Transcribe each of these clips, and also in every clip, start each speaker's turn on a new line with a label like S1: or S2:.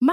S1: ما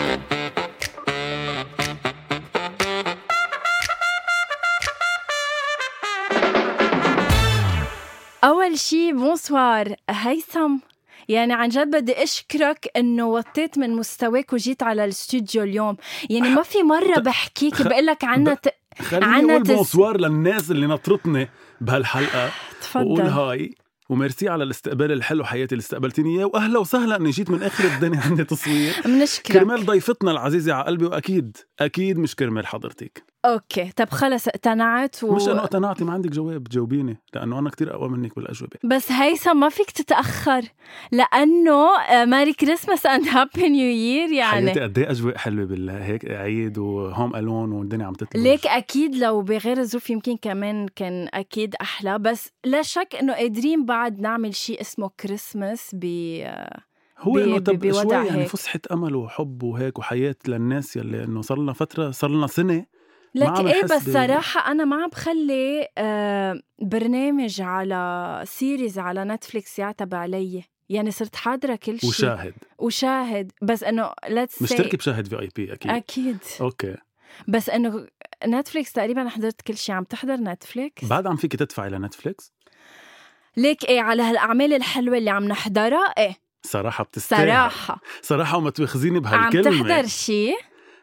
S1: أول شي بونسوار هيثم يعني عن جد بدي اشكرك انه وطيت من مستواك وجيت على الاستوديو اليوم يعني ما في مره بحكيك بقول لك عنا ت...
S2: خليني
S1: عنا
S2: اقول
S1: تس-
S2: بونسوار للناس اللي نطرتني بهالحلقه واقول
S1: تفضل
S2: هاي وميرسي على الاستقبال الحلو حياتي اللي استقبلتيني اياه واهلا وسهلا اني جيت من اخر الدنيا عندي تصوير كرمال
S1: بنشكرك
S2: ضيفتنا العزيزه على قلبي واكيد اكيد مش كرمال حضرتك
S1: اوكي طب خلص اقتنعت و...
S2: مش انا اقتنعتي ما عندك جواب جاوبيني لانه انا كتير اقوى منك بالاجوبه
S1: بس هيثم ما فيك تتاخر لانه ماري كريسماس اند هابي نيو يير يعني
S2: حياتي قد ايه اجواء حلوه بالهيك عيد وهوم الون والدنيا عم تتلوج
S1: ليك اكيد لو بغير الظروف يمكن كمان كان اكيد احلى بس لا شك انه قادرين بعد نعمل شيء اسمه كريسماس ب
S2: هو
S1: بي-
S2: انه
S1: بي-
S2: طب
S1: بوضع
S2: شوي يعني
S1: هيك.
S2: فسحه امل وحب وهيك وحياه للناس يلي انه صار لنا فتره صار لنا سنه ما
S1: لك
S2: عم
S1: ايه
S2: نحس
S1: بس
S2: ب-
S1: صراحة أنا ما عم بخلي آه، برنامج على سيريز على نتفليكس يعتب علي يعني صرت حاضرة كل شيء
S2: وشاهد
S1: وشاهد بس انه ليتس
S2: مشتركه بشاهد في اي بي اكيد
S1: اكيد
S2: اوكي
S1: بس انه نتفليكس تقريبا حضرت كل شيء عم تحضر نتفليكس
S2: بعد عم فيك تدفعي لنتفليكس
S1: ليك ايه على هالاعمال الحلوه اللي عم نحضرها ايه
S2: صراحه بتستاهل
S1: صراحه
S2: صراحه وما تواخذيني
S1: عم
S2: بهالكلمه
S1: تحضر شيء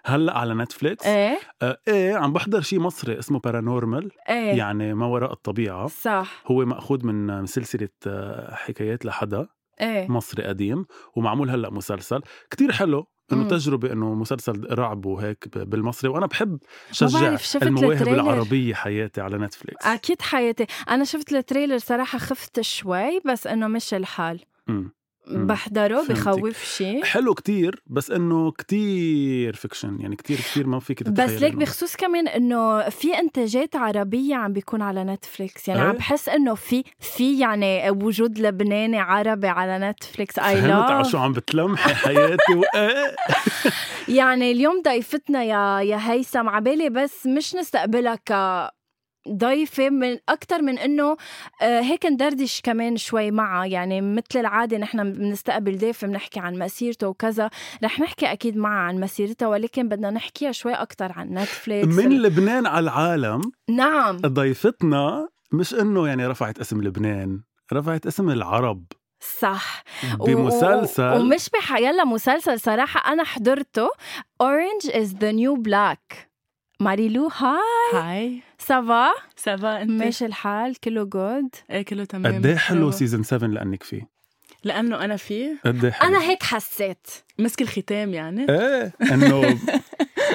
S2: هلا على نتفليكس ايه,
S1: ايه
S2: آه ايه عم بحضر شيء مصري اسمه بارانورمال
S1: ايه
S2: يعني ما وراء الطبيعه
S1: صح
S2: هو مأخوذ من آه، سلسلة آه، حكايات لحدا
S1: ايه
S2: مصري قديم ومعمول هلا مسلسل كتير حلو
S1: مم.
S2: انه تجربة انه مسلسل رعب وهيك ب- بالمصري وانا بحب
S1: ما
S2: شجع
S1: بعرف شفت
S2: المواهب
S1: التريلر.
S2: العربية حياتي على نتفليكس
S1: اكيد حياتي انا شفت التريلر صراحه خفت شوي بس انه مش الحال
S2: مم. مم.
S1: بحضره
S2: فهمتك.
S1: بخوف شيء
S2: حلو كتير بس انه كتير فيكشن يعني كتير كتير ما فيك
S1: بس
S2: تتخيل
S1: ليك
S2: إنه-
S1: بخصوص كمان انه في انتاجات عربيه عم بيكون على نتفليكس يعني
S2: إيه.
S1: عم بحس انه في في يعني وجود لبناني عربي على نتفليكس اي
S2: فهمت على شو
S1: لاف
S2: عم بتلمحي حياتي إيه، وإيه
S1: يعني اليوم ضيفتنا يا يا هيثم عبالي بس مش نستقبلها ك ضيفة من أكتر من إنه آه، هيك ندردش كمان شوي معها يعني مثل العادة نحن بنستقبل ضيف بنحكي عن مسيرته وكذا رح نحكي أكيد معها عن مسيرتها ولكن بدنا نحكيها شوي أكتر عن نتفليكس
S2: من لبنان على العالم
S1: نعم
S2: ضيفتنا مش انه يعني رفعت اسم لبنان رفعت اسم العرب
S1: صح و...
S2: بمسلسل
S1: ومش بح... يلا مسلسل صراحة أنا حضرته Orange is the new black ماريلو هاي
S3: هاي
S1: سافا
S3: سافا انت
S1: ماشي الحال كله جود
S3: ايه كله تمام
S2: قد ايه حلو
S3: برافو.
S2: سيزون 7 لانك فيه
S3: لانه انا فيه
S2: قد ايه حلو
S1: أنا هيك حسيت
S3: مسك الختام يعني
S2: ايه انه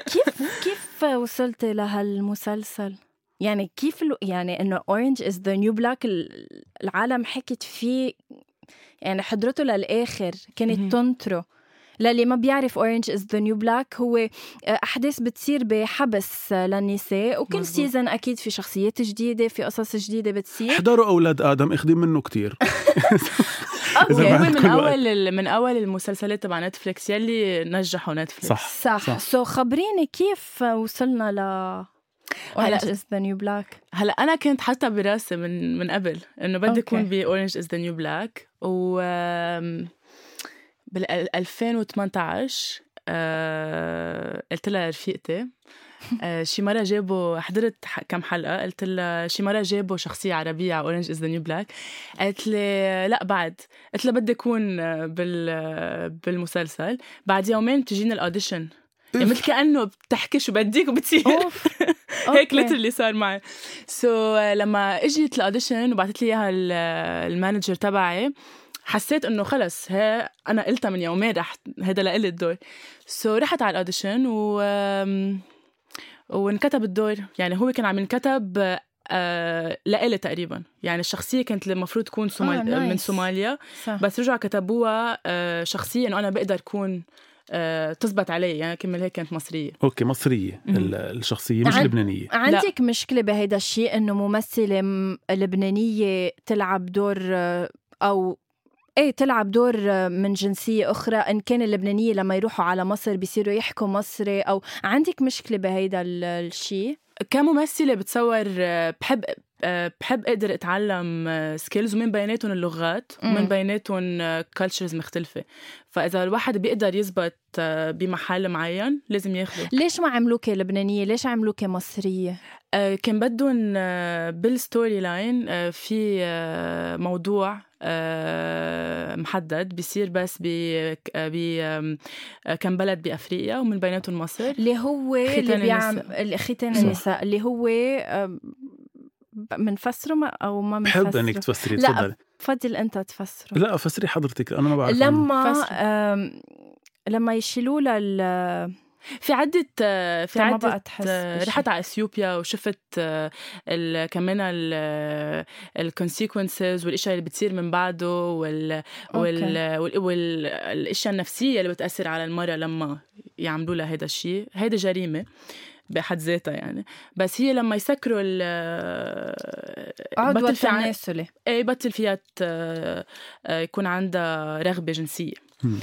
S1: كيف كيف وصلت لهالمسلسل؟ يعني كيف الو... يعني انه Orange is the new black ال- العالم حكت فيه يعني حضرته للاخر
S3: مهم.
S1: كانت تنطره للي ما بيعرف Orange is the new black هو آه، أحداث بتصير بحبس آه، للنساء وكل
S3: مزبوط.
S1: سيزن أكيد في شخصيات جديدة في قصص جديدة بتصير
S2: احضروا اولاد ادم اخدين منه كتير إذا ما
S3: هو يعني من
S2: عندكم
S3: اول ال- من اول المسلسلات تبع نتفليكس يلي نجحوا نتفليكس
S2: صح
S1: صح سو خبريني كيف وصلنا ل
S3: هلا-
S1: Orange is the new black
S3: هلا انا كنت حاطه براسي من من قبل انه بدي
S1: أوكي.
S3: اكون باورنج از ذا نيو بلاك و آم، بال 2018 آه، قلت لها رفيقتي آه، شي مره جابوا حضرت ح- كم حلقه قلت لها شي مره جابوا شخصيه عربيه على اورنج از ذا نيو بلاك قالت لي لا بعد قلت لها بدي اكون آه، بال آه، بالمسلسل بعد يومين بتجيني الاوديشن يعني مثل كانه بتحكي شو بدك وبتصير
S1: اوف
S3: هيك
S1: أوكي.
S3: ليترلي صار معي سو so, آه، لما اجت الاوديشن وبعثت لي اياها ال- آه، المانجر تبعي حسيت انه خلص ها انا قلتها من يومين رح هذا لإلي الدور سو so, رحت على الاوديشن و آم، وانكتب الدور يعني هو كان عم ينكتب آه، آه، لإلي تقريبا يعني الشخصية كانت المفروض تكون سومال...
S1: آه،
S3: من
S1: nice.
S3: صوماليا
S1: صح
S3: بس رجعوا كتبوها آه، شخصية انه انا بقدر كون آه، تزبط علي يعني كمل هيك كانت مصرية
S2: اوكي مصريه
S3: مم.
S2: ال- الشخصيه مش
S1: عن-
S2: لبنانيه
S1: عندك لا. مشكلة بهيدا الشيء انه ممثلة م- لبنانية تلعب دور آه، او ايه تلعب دور آه، من جنسية أخرى إن كان اللبنانية لما يروحوا على مصر بيصيروا يحكوا مصري أو عندك مشكلة بهيدا ال- الشيء
S3: كممثلة بتصور آه، بحب آه، بحب اقدر اتعلم سكيلز ومن بيناتهم اللغات ومن
S1: مم.
S3: بيناتهم كالتشرز مختلفة فإذا الواحد بيقدر يزبط آه، بمحل معين لازم ياخده
S1: ليش ما عملوكي لبنانية ليش عملوكي مصرية
S3: آه، كان بدهم آه، بالستوري لاين آه، في آه، موضوع آه، محدد بيصير بس ب آه، كم بلد بافريقيا ومن بيناتهم مصر
S1: اللي هو
S3: ختان
S1: اللي
S3: النساء.
S1: بيعمل ختان
S2: صح.
S1: النساء اللي هو آه، ب- منفسره ما- أو ما منفسره
S2: بحب انك تفسري
S1: لا،
S2: تفضلي
S1: تفضل أنت تفسره
S2: لا فسري حضرتك انا ما بعرف عنه.
S1: لما
S3: فصل.
S1: آم، لما يشيلوا لها ال-
S3: في عدة آه، في
S1: طيب ما
S3: عدة
S1: بقى تحس
S3: آه،
S1: بشي.
S3: رحت على اثيوبيا وشفت آه، ال- آه، كمان الكونسيكونسز والاشياء اللي بتصير من بعده وال وال وال- وال- الاشياء النفسيه اللي بتاثر على المراه لما يعملوا لها هذا الشيء هيدا جريمه بحد ذاتها يعني بس هي لما يسكروا ال
S1: عضو
S3: بطل في عن-
S1: التناسلي
S3: ايه بطل فيها ت- آه، يكون عندها رغبه جنسيه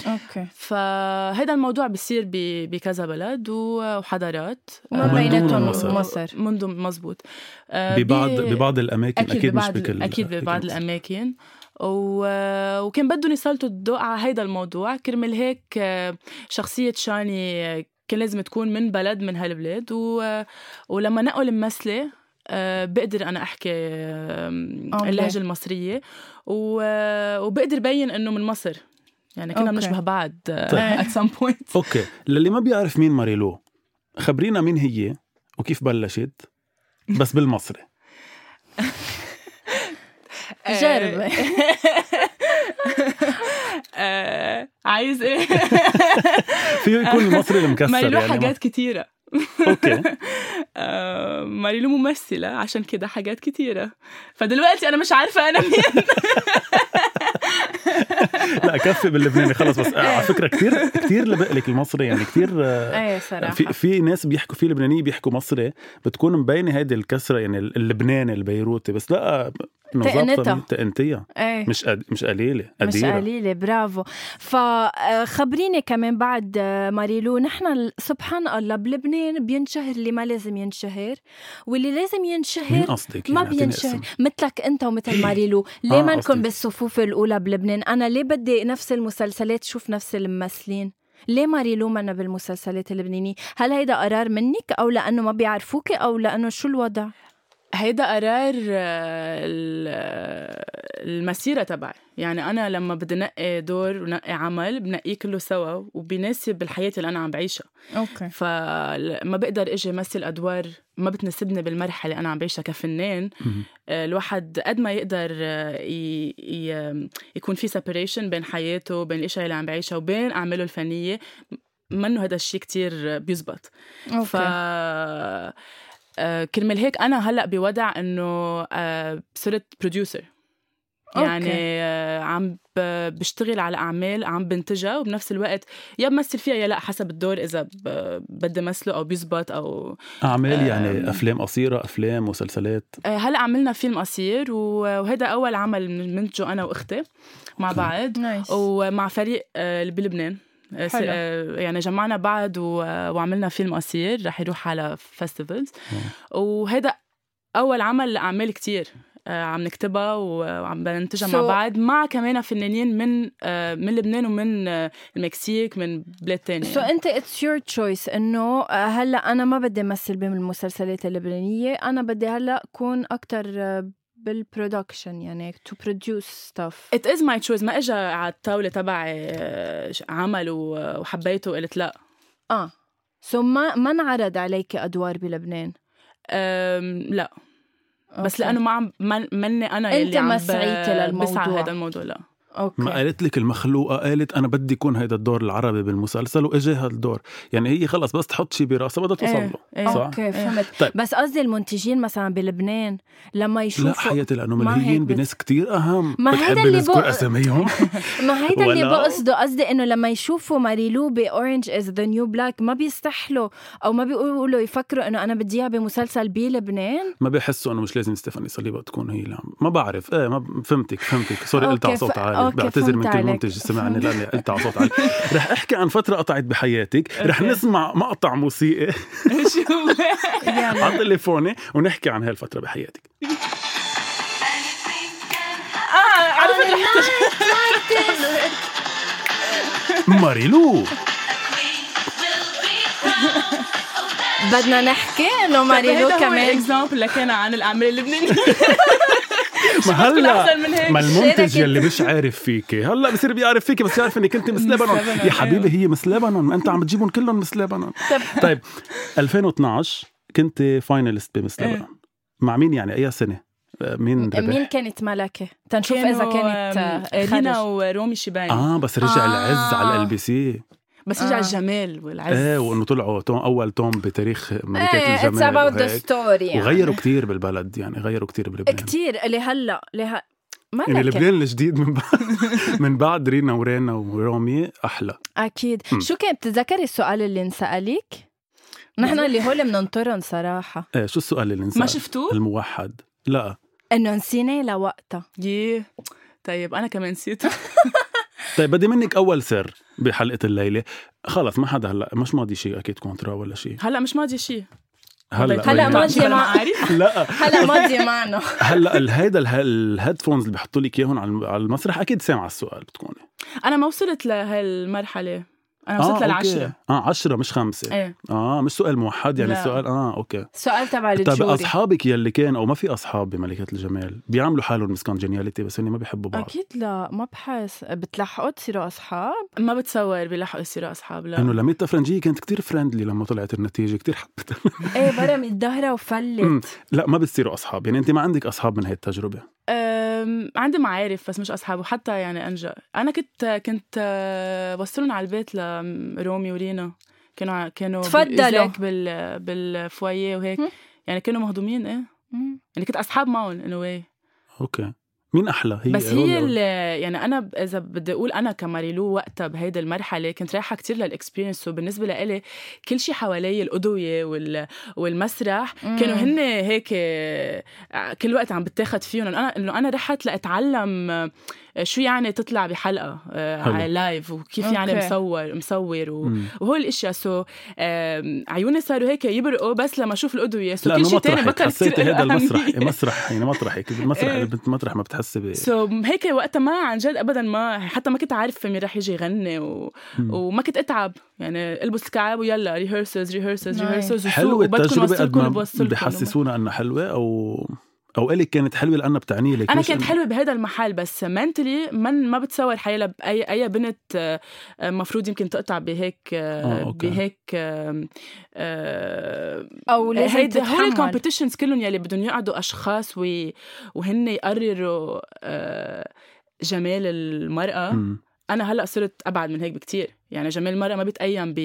S1: اوكي
S3: فهذا الموضوع بيصير ب- بكذا بلد و- وحضارات
S1: ومن
S3: آه،
S1: بيناتهم
S2: مصر.
S1: مصر.
S3: من ضمن مزبوط آه،
S2: ببعض
S3: ب-
S2: ببعض الاماكن اكيد,
S3: اكيد
S2: أكيد مش
S3: ببعض
S2: بكل
S3: اكيد ببعض
S2: مش-
S3: الاماكن و... آه، وكان بدهم يسلطوا الضوء على هيدا الموضوع كرمال هيك آه، شخصية شاني آه، كان لازم تكون من بلد من هالبلاد و... آه، ولما نقوا الممثلة آه، بقدر انا احكي آه، اللهجه المصريه و... آه، وبقدر بين انه من مصر يعني كنا
S1: أوكي.
S3: بنشبه بعض آه،
S1: طيب.
S3: at some point
S2: اوكي للي ما بيعرف مين ماريلو خبرينا مين هي وكيف بلشت بس بالمصري
S1: جرب
S3: آه، عايز ايه
S2: فيه يكون المصري المكسر
S3: ماريلو
S2: يعني ما-
S3: حاجات كتيرة
S2: اوكي
S3: آه، ماريلو ممثلة عشان كده حاجات كتيرة فدلوقتي أنا مش عارفة أنا مين
S2: لا كفي باللبناني خلص بس آه، على فكره كثير كثير لبقلك المصري يعني كثير
S1: ايه صراحه
S2: في في ناس بيحكوا في لبنانيه بيحكوا مصري بتكون مبينه هيدي الكسره يعني اللبناني البيروتي بس لا إنه
S1: تقنتها.
S2: ظابطة تقنتيها
S1: ايه
S2: مش قد... مش قليله
S1: مش
S2: قديره
S1: قليلة برافو فخبريني كمان بعد آه، ماريلو نحن ال- سبحان الله بلبنان بينشهر اللي ما لازم ينشهر واللي لازم
S2: مين
S1: ينشهر
S2: قصدك؟
S1: ما
S2: يعني اعطيني
S1: بينشهر
S2: اسم.
S1: مثلك انت ومثل ماريلو ليه
S2: آه،
S1: ما
S2: قصدي.
S1: نكون بالصفوف الاولى بلبنان انا ليه بدي نفس المسلسلات شوف نفس الممثلين ليه ماريلو منا بالمسلسلات اللبنانية هل هيدا قرار منك او لانه ما بيعرفوكي او لانه شو الوضع
S3: هيدا قرار آه، ال- آه، المسيرة تبعي يعني أنا لما بدي نقي دور ونقي عمل بنقيه كله سوا وبيناسب الحياة اللي أنا عم بعيشها
S1: اوكي
S3: فما بقدر اجي امثل ادوار ما بتناسبني بالمرحله اللي انا عم بعيشها كفنان
S2: مهم.
S3: آه، الواحد قد ما يقدر آه، ي... ي... يكون في سيبريشن بين حياته بين الاشياء اللي عم بعيشها وبين اعماله الفنيه منه هذا الشيء كتير بيزبط ف آه، كرمال هيك انا هلا بوضع انه آه، صرت بروديوسر يعني
S1: أوكي.
S3: آه، عم ب- بشتغل على اعمال عم بنتجها وبنفس الوقت يا بمثل فيها يا لا حسب الدور اذا ب- بدي مثله او بيزبط او
S2: اعمال
S3: أم.
S2: يعني افلام قصيره افلام مسلسلات
S3: آه، هلا عملنا فيلم قصير و- وهذا اول عمل منتجه انا واختي مع
S2: أوكي.
S3: بعض
S1: نايس
S3: ومع فريق آه، اللي بلبنان آه، س-
S1: حلو.
S3: آه، يعني جمعنا بعض و- آه، وعملنا فيلم قصير رح يروح على فيستيفالز وهذا اول عمل لاعمال كتير آه، عم نكتبها و- وعم بننتجها مع
S1: So-
S3: بعض مع كمان فنانين من آه، من لبنان ومن آه، المكسيك من بلاد تانية
S1: سو انت اتس يور تشويس انه آه، هلا انا ما بدي امثل بالمسلسلات اللبنانيه انا بدي هلا كون اكثر بالبرودكشن يعني تو بروديوس ستاف
S3: It is my choice ما اجى على الطاولة تبعي آه، عمل و- وحبيته وقلت لا
S1: آه. اه سو ما ما انعرض عليك ادوار بلبنان
S3: أم، لا بس
S1: أوكي.
S3: لانه ما عم من- مني انا
S1: أنت
S3: يلي عم
S1: ما
S3: ب-
S1: سعيتي للموضوع.
S3: بسعى هذا الموضوع لا
S1: اوكي
S2: ما قالت لك المخلوقه قالت انا بدي يكون هيدا الدور العربي بالمسلسل واجاها الدور يعني هي خلص بس تحط شيء براسها بدها توصل له
S3: إيه.
S2: صح؟
S1: اوكي
S3: إيه.
S1: فهمت
S2: طيب.
S1: بس قصدي المنتجين مثلا بلبنان لما
S2: لا
S1: يشوفوا
S2: حياتي لانه
S1: ما هيك
S2: ملهيين
S1: بت-
S2: بناس كتير اهم
S1: ما هيدا
S2: بتحبي
S1: اللي
S2: نذكر
S1: بق-
S2: اساميهم
S1: ما هيدا اللي
S2: ولا-
S1: بقصده قصدي انه لما يشوفوا ماريلو باورنج از ذا نيو بلاك ما بيستحلوا او ما بيقولوا يفكروا انه انا بدي اياها بمسلسل بلبنان
S2: ما بيحسوا انه مش لازم ستيفاني صليبا تكون هي اللي عم- ما بعرف ايه ما ب- فهمتك فهمتك سوري
S1: أوكي،
S2: قلت على صوت
S1: ف-
S2: عالي
S1: أوكي، فهمت
S2: بعتذر من كل
S1: عليك.
S2: منتج سمعني لاني قلت على صوت عالي رح احكي عن فتره قطعت بحياتك رح
S3: أوكي.
S2: نسمع مقطع موسيقي
S3: شو
S1: يعني
S2: على تليفوني ونحكي عن هالفتره بحياتك
S3: عرفت رح
S2: ماريلو
S1: بدنا نحكي انه ماريلو كمان
S3: اكزامبل لكان عن الاعمال اللبنانيه
S2: ما
S3: احسن
S2: هلا
S3: من هيك
S2: ما
S1: شاركت.
S2: المنتج يلي مش عارف فيكي هلا بصير بيعرف فيكي بس يعرف اني كنت مس لبنان
S3: لبنان، أيوه.
S2: يا حبيبي هي مس لبنان ما انت عم بتجيبهم كلهم مس لبنان طيب 2012 كنت فاينلست بمس
S3: إيه.
S2: لبنان مع مين يعني اي سنه آه، مين
S1: مين
S2: ربح
S1: كانت ملكه تنشوف اذا
S3: كانوا،
S1: كانت
S3: آم، رينا
S1: آه، خرج.
S3: ورومي شباين
S2: اه بس رجع
S1: آه.
S2: العز على الال بي سي
S3: بس رجع
S1: آه.
S3: الجمال والعز
S2: ايه وانه طلعوا توم اول توم بتاريخ
S3: إيه،
S2: ملكات
S1: ايه اتس
S2: الجمال
S1: اباوت ذا
S2: وهيك.
S1: ستوري
S3: يعني.
S2: وغيروا كتير بالبلد يعني غيروا كتير بلبنان
S1: كثير لهلا لهلا ما
S2: يعني
S1: لك.
S2: لبنان الجديد من بعد من بعد رينا ورينا ورومي احلى
S1: اكيد
S2: مم.
S1: شو كان بتتذكري السؤال اللي انسالك نحن اللي هول بننطرهم صراحه
S2: ايه شو السؤال اللي انساه
S3: ما شفتوه؟
S2: الموحد لا
S1: انه نسينا لوقتها
S3: ييه طيب انا كمان نسيت
S2: طيب بدي منك اول سر بحلقه الليله خلص ما حدا هلا مش ماضي شيء اكيد كونترا ولا شيء
S3: هلا مش ماضي طيب، شيء
S2: هلا
S1: هلا
S2: وين-
S1: ماضي.
S3: شي أنا ما عارف
S2: لا
S1: هلا ماضيه معنا
S2: هلا ال- هيدا ال- الهيدفونز اللي بحطوا لك اياهم على الم- على المسرح اكيد سامعه السؤال بتكوني
S3: انا ما وصلت لهالمرحله انا وصلت
S2: أوكي.
S3: للعشره
S2: اه 10 مش خمسة
S3: ايه
S2: اه مش سؤال موحد يعني
S3: لا.
S2: سؤال اه اوكي
S1: سؤال تبع
S2: طيب
S1: الجوري
S2: اصحابك يلي كان او ما في اصحاب بملكات الجمال بيعملوا حالهم مسكان جينياليتي بس هن ما بيحبوا بعض
S1: اكيد لا ما بحس بتلحقوا تصيروا اصحاب
S3: ما بتصور بيلحقوا يصيروا اصحاب
S2: انه
S3: لا
S2: لميتا فرنجيه كانت كتير فريندلي لما طلعت النتيجه كتير حبيتها
S1: ايه برمت ظهرها
S2: مم.
S1: وفلت
S2: لا ما بتصيروا اصحاب يعني انت ما عندك اصحاب من هاي التجربه
S3: أم، عندي معارف بس مش اصحاب وحتى يعني انجا انا كنت كنت أه، وصلهم على البيت لرومي ورينا كانوا ع- كانوا
S1: تفضلوا.
S3: بالإزاك بال بالفويه وهيك
S1: مم.
S3: يعني كانوا مهضومين ايه
S1: مم.
S3: يعني كنت اصحاب معهم انه واي
S2: اوكي مين احلى هي
S3: بس
S2: أو
S3: هي
S2: لو-
S3: اللي يعني انا ب- اذا بدي اقول انا كماريلو وقتها بهيدي المرحله كنت رايحه كتير للاكسبيرينس وبالنسبه لإلي كل شيء حوالي القدوه وال... والمسرح
S1: مم.
S3: كانوا هن هيك آه، كل وقت عم بتاخد فيهم انا انه انا رحت لاتعلم آه، شو يعني تطلع بحلقه آه،
S2: حلو.
S3: على لايف وكيف يعني
S1: أوكي.
S3: مصور مصور و...
S2: مم.
S3: وهول الاشياء سو آم، عيوني صاروا هيك يبرقوا بس لما اشوف القدوه سو كل
S2: لانه
S3: شيء تاني
S2: مطرحك
S3: بطل كثير
S2: حسيت هذا المسرح مسرح يعني مطرحك المسرح
S3: إيه.
S2: المسرح ما بتحسي ب
S3: سو هيك وقتها ما عن جد ابدا ما حتى ما كنت عارفه مين رح يجي يغني و...
S2: مم.
S3: وما كنت اتعب يعني البس الكعب ويلا ريهرسز ريهرسز
S1: Nice.
S3: ريهرسز
S2: حلوه التجربه قد ما
S3: بحسسوك
S2: بحسسونا انها حلوه او او الك كانت حلوه لانها بتعني لك
S3: انا
S2: مش
S3: كنت
S2: إنه-
S3: حلوه بهذا المحل بس منتلي من ما بتصور حالها باي اي بنت آه، آه، مفروض يمكن تقطع بهيك
S2: آه،
S3: آه،
S2: أوكي.
S3: بهيك آه، آه،
S1: او لازم
S3: هيدا هول
S1: تتحمل
S3: الكومبيتيشنز كلهم يلي بدهم يقعدوا اشخاص وي... وهن يقرروا آه، جمال المراه
S2: مم.
S3: انا هلا صرت ابعد من هيك بكتير يعني جمال المراه ما بيتقيم ب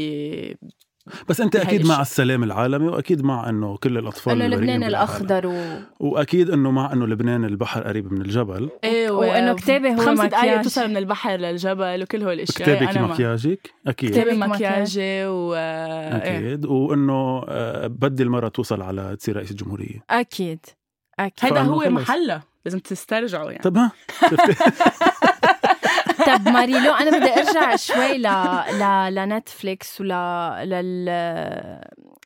S2: بس انت
S3: بهاي
S2: اكيد
S3: الأشياء.
S2: مع السلام العالمي واكيد مع انه كل الاطفال
S1: انه
S2: البريئين
S1: لبنان
S2: بالعالم.
S1: الاخضر و...
S2: واكيد انه مع انه لبنان البحر قريب من الجبل
S3: ايه و-
S1: إيه، وإنه كتابي هو
S3: خمس دقايق
S1: مكياج.
S3: توصل من البحر للجبل وكل هول الاشياء
S2: كتابك
S3: انا مع-
S2: مكياجك اكيد
S1: كتابي
S3: كتابي
S1: مكياج.
S3: مكياجي و إيه.
S2: اكيد وانه آه، بدي المره توصل على تصير رئيس الجمهوريه
S1: اكيد اكيد
S3: هيدا
S2: فأنا
S3: هو
S2: خلص.
S3: محلها لازم تسترجعوا يعني
S2: طب ها
S1: طب ماريلو انا بدي ارجع شوي ل ل لنتفليكس ول لل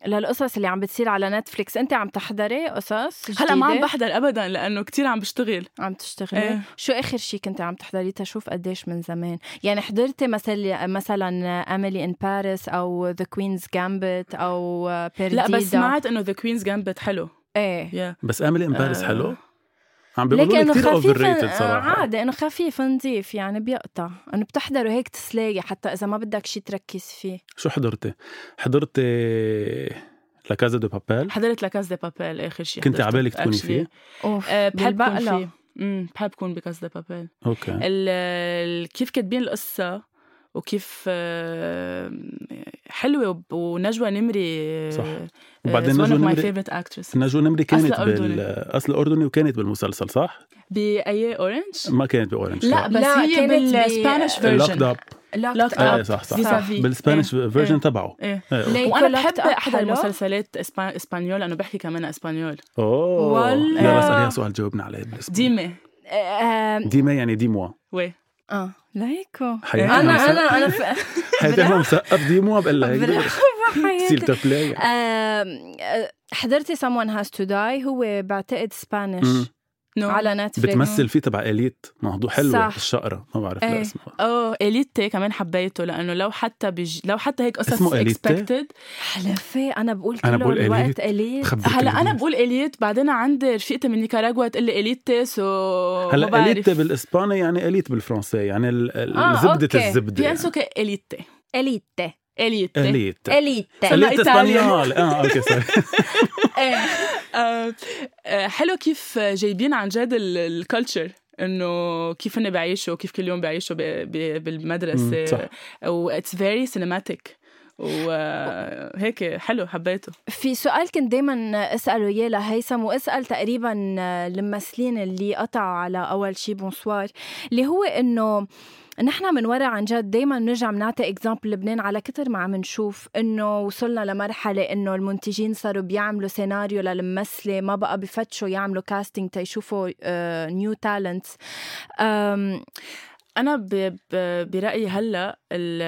S1: للقصص اللي عم بتصير على نتفليكس انت عم تحضري قصص
S3: هلا ما عم
S1: جديدة؟
S3: بحضر ابدا لانه كتير عم بشتغل
S1: عم تشتغلي
S3: إيه.
S1: شو اخر شيء كنت عم تحضري تشوف قديش من زمان يعني حضرتي مثلا مثلا اميلي ان باريس او ذا كوينز جامبت او بيرديدا
S3: لا بس سمعت انه ذا كوينز جامبت حلو
S1: ايه
S3: يا
S2: بس املي ان باريس
S3: آه.
S2: حلو عم بيقولوا لي
S1: لكن
S2: كثير اوفر
S1: خفيف
S2: ريتد
S1: آه،
S2: صراحه
S1: عادي انه خفيف نظيف يعني بيقطع انه بتحضره هيك تسلاقي حتى اذا ما بدك شيء تركز فيه
S2: شو حضرتي؟ حضرتي لكازا دو بابيل
S3: حضرت لكاز دي بابيل اخر شيء
S2: كنت على بالك تكوني فيه
S1: اوف
S3: آه، بحب اكون
S1: بالبقلة.
S3: فيه امم بحب اكون بكاز دي بابيل
S2: اوكي
S3: ال- ال- كيف كاتبين القصة وكيف آه، حلوة وب- ونجوى نمري آه،
S2: صح. وبعدين
S3: وبعدين نجوى
S2: نجوى
S3: نمري
S2: نمري-
S3: فيفرت اكترس
S2: نجوى نمري كانت
S3: أصل أردني.
S2: بال اصل اردني وكانت بالمسلسل صح؟
S3: بأي اورنج؟
S2: ما كانت باورنج
S3: لا بس
S1: لا،
S3: هي
S1: كانت ب-
S3: بالسبانش
S2: لوكد
S3: فيرجن
S2: اب
S3: Locked
S1: لوكت
S3: up.
S2: ايه صح صح
S3: Vis-a-vis.
S2: بالسبانش فيرجن تبعه
S3: ايه
S2: إيه، أوكي.
S3: وانا بحب احضر مسلسلات إسبا- اسبانيول لانه بحكي كمان اسبانيول
S2: اوه
S1: والله.
S2: يلا اساليها سؤال جاوبنا عليه بالاسبوع.
S3: ديمي
S1: آه،
S2: ديما يعني ديموا
S3: وي
S1: اه ليكو
S2: حياتي
S1: انا
S2: مسقف-
S1: انا انا في
S2: حياتي انا مسقف ديموا بقول لها هيك
S1: برافو
S2: سيل
S1: حياتي
S2: تبلاي
S1: آم، آه، حضرتي someone has to die هو بعتقد
S2: مم.
S1: سبانيش
S3: نو
S1: على نتفليكس
S2: بتمثل فيه تبع اليت موضوع حلو
S1: صح.
S2: الشقره ما بعرف
S1: إيه.
S2: لا اسمه
S3: اه اليتي كمان حبيته لانه لو حتى بج... لو حتى هيك قصص
S2: اسمه إليتي؟
S3: اكسبكتد
S1: حلفي انا بقول كله
S2: أنا بقول
S1: الوقت
S2: elite.
S1: اليت
S2: خبي
S3: هلا
S2: كلمة.
S3: انا بقول اليت بعدين عندي رفيقتي من نيكاراغوا تقول لي اليتي سو ما
S2: هلا
S3: بعرف.
S2: اليت بالاسباني يعني اليت بالفرنسي يعني ال- ال-
S1: آه،
S2: زبده
S1: أوكي.
S2: الزبده يعني.
S3: بيانسو اليتي
S1: اليت
S3: اليت
S2: اليت
S1: اليت
S3: أنا
S2: اليت
S3: إيطاليا.
S2: اسبانيول اه اوكي سوري
S1: إيه.
S3: آه، آه، حلو كيف جايبين عن جد الكالتشر انه كيف هن بيعيشوا كيف كل يوم بيعيشوا ب- ب-
S2: مم، صح.
S3: بالمدرسه و اتس فيري سينماتيك وهيك آه، حلو حبيته
S1: في سؤال كنت دايما اساله اياه لهيثم واسال تقريبا الممثلين آه، اللي قطعوا على اول شي بونسوار اللي هو انه نحن من ورا عن جد دائما بنرجع بنعطي اكزامبل لبنان على كتر ما عم نشوف انه وصلنا لمرحله انه المنتجين صاروا بيعملوا سيناريو للممثله ما بقى بفتشوا يعملوا كاستنج تيشوفوا نيو تالنتس
S3: انا ب... ب... برايي هلا ال...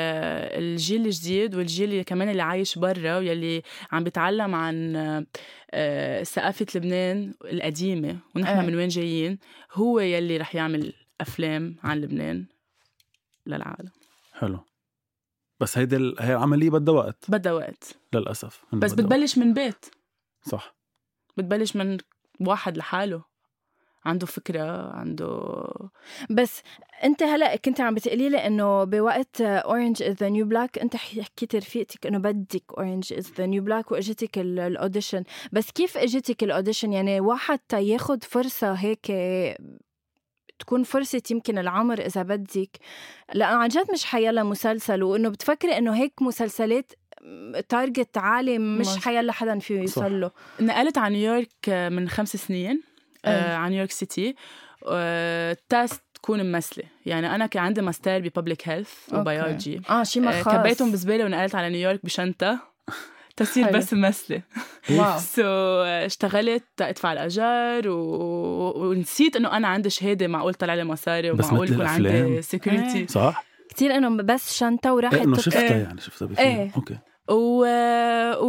S3: الجيل الجديد والجيل اللي كمان اللي عايش برا واللي عم بيتعلم عن آه، ثقافه لبنان القديمه ونحن
S1: إيه.
S3: من وين جايين هو يلي رح يعمل افلام عن لبنان للعالم
S2: حلو بس هيدي ال- هي العمليه بدها وقت
S3: بدها وقت
S2: للاسف إنه
S3: بس
S2: بدها وقت.
S3: بتبلش من بيت
S2: صح
S3: بتبلش من واحد لحاله عنده فكرة عنده
S1: بس انت هلا كنت عم بتقلي لي انه بوقت اورنج از ذا نيو بلاك انت حي- حكيت رفيقتك انه بدك اورنج از ذا نيو بلاك واجتك ال- الاوديشن بس كيف اجتك الاوديشن يعني واحد تا ياخد فرصه هيك تكون فرصة يمكن العمر إذا بدك لأنه عن جد مش حيلا مسلسل وإنه بتفكري إنه هيك مسلسلات تارجت عالي مش
S3: مظبوط.
S1: حيلا حدا فيه
S2: صح.
S1: يوصل له
S3: نقلت على نيويورك آه، من خمس سنين آه،
S1: إيه.
S3: على نيويورك سيتي آه، تاس تكون ممثلة يعني أنا كان عندي ماستر بببليك هيلث
S1: أوكي.
S3: وبيولوجي
S1: آه شي ما
S3: آه،
S1: خاص
S3: كبيتهم بزبالة ونقلت على نيويورك بشنطة تصير
S1: حلو.
S3: بس ممثلة
S1: واو
S3: سو اشتغلت تدفع الأجار و... ونسيت إنه أنا عندي شهادة معقول طلع لي مصاري
S2: بس
S3: ومعقول
S2: مثل
S3: يكون
S2: الأفلام.
S3: عندي سكيورتي
S2: صح؟
S1: كتير إنه بس شنطة وراحت
S2: إيه، انه
S1: تت-
S2: شفتها
S3: إيه.
S2: يعني شفتها بفيلم
S1: إيه.
S2: اوكي
S3: و...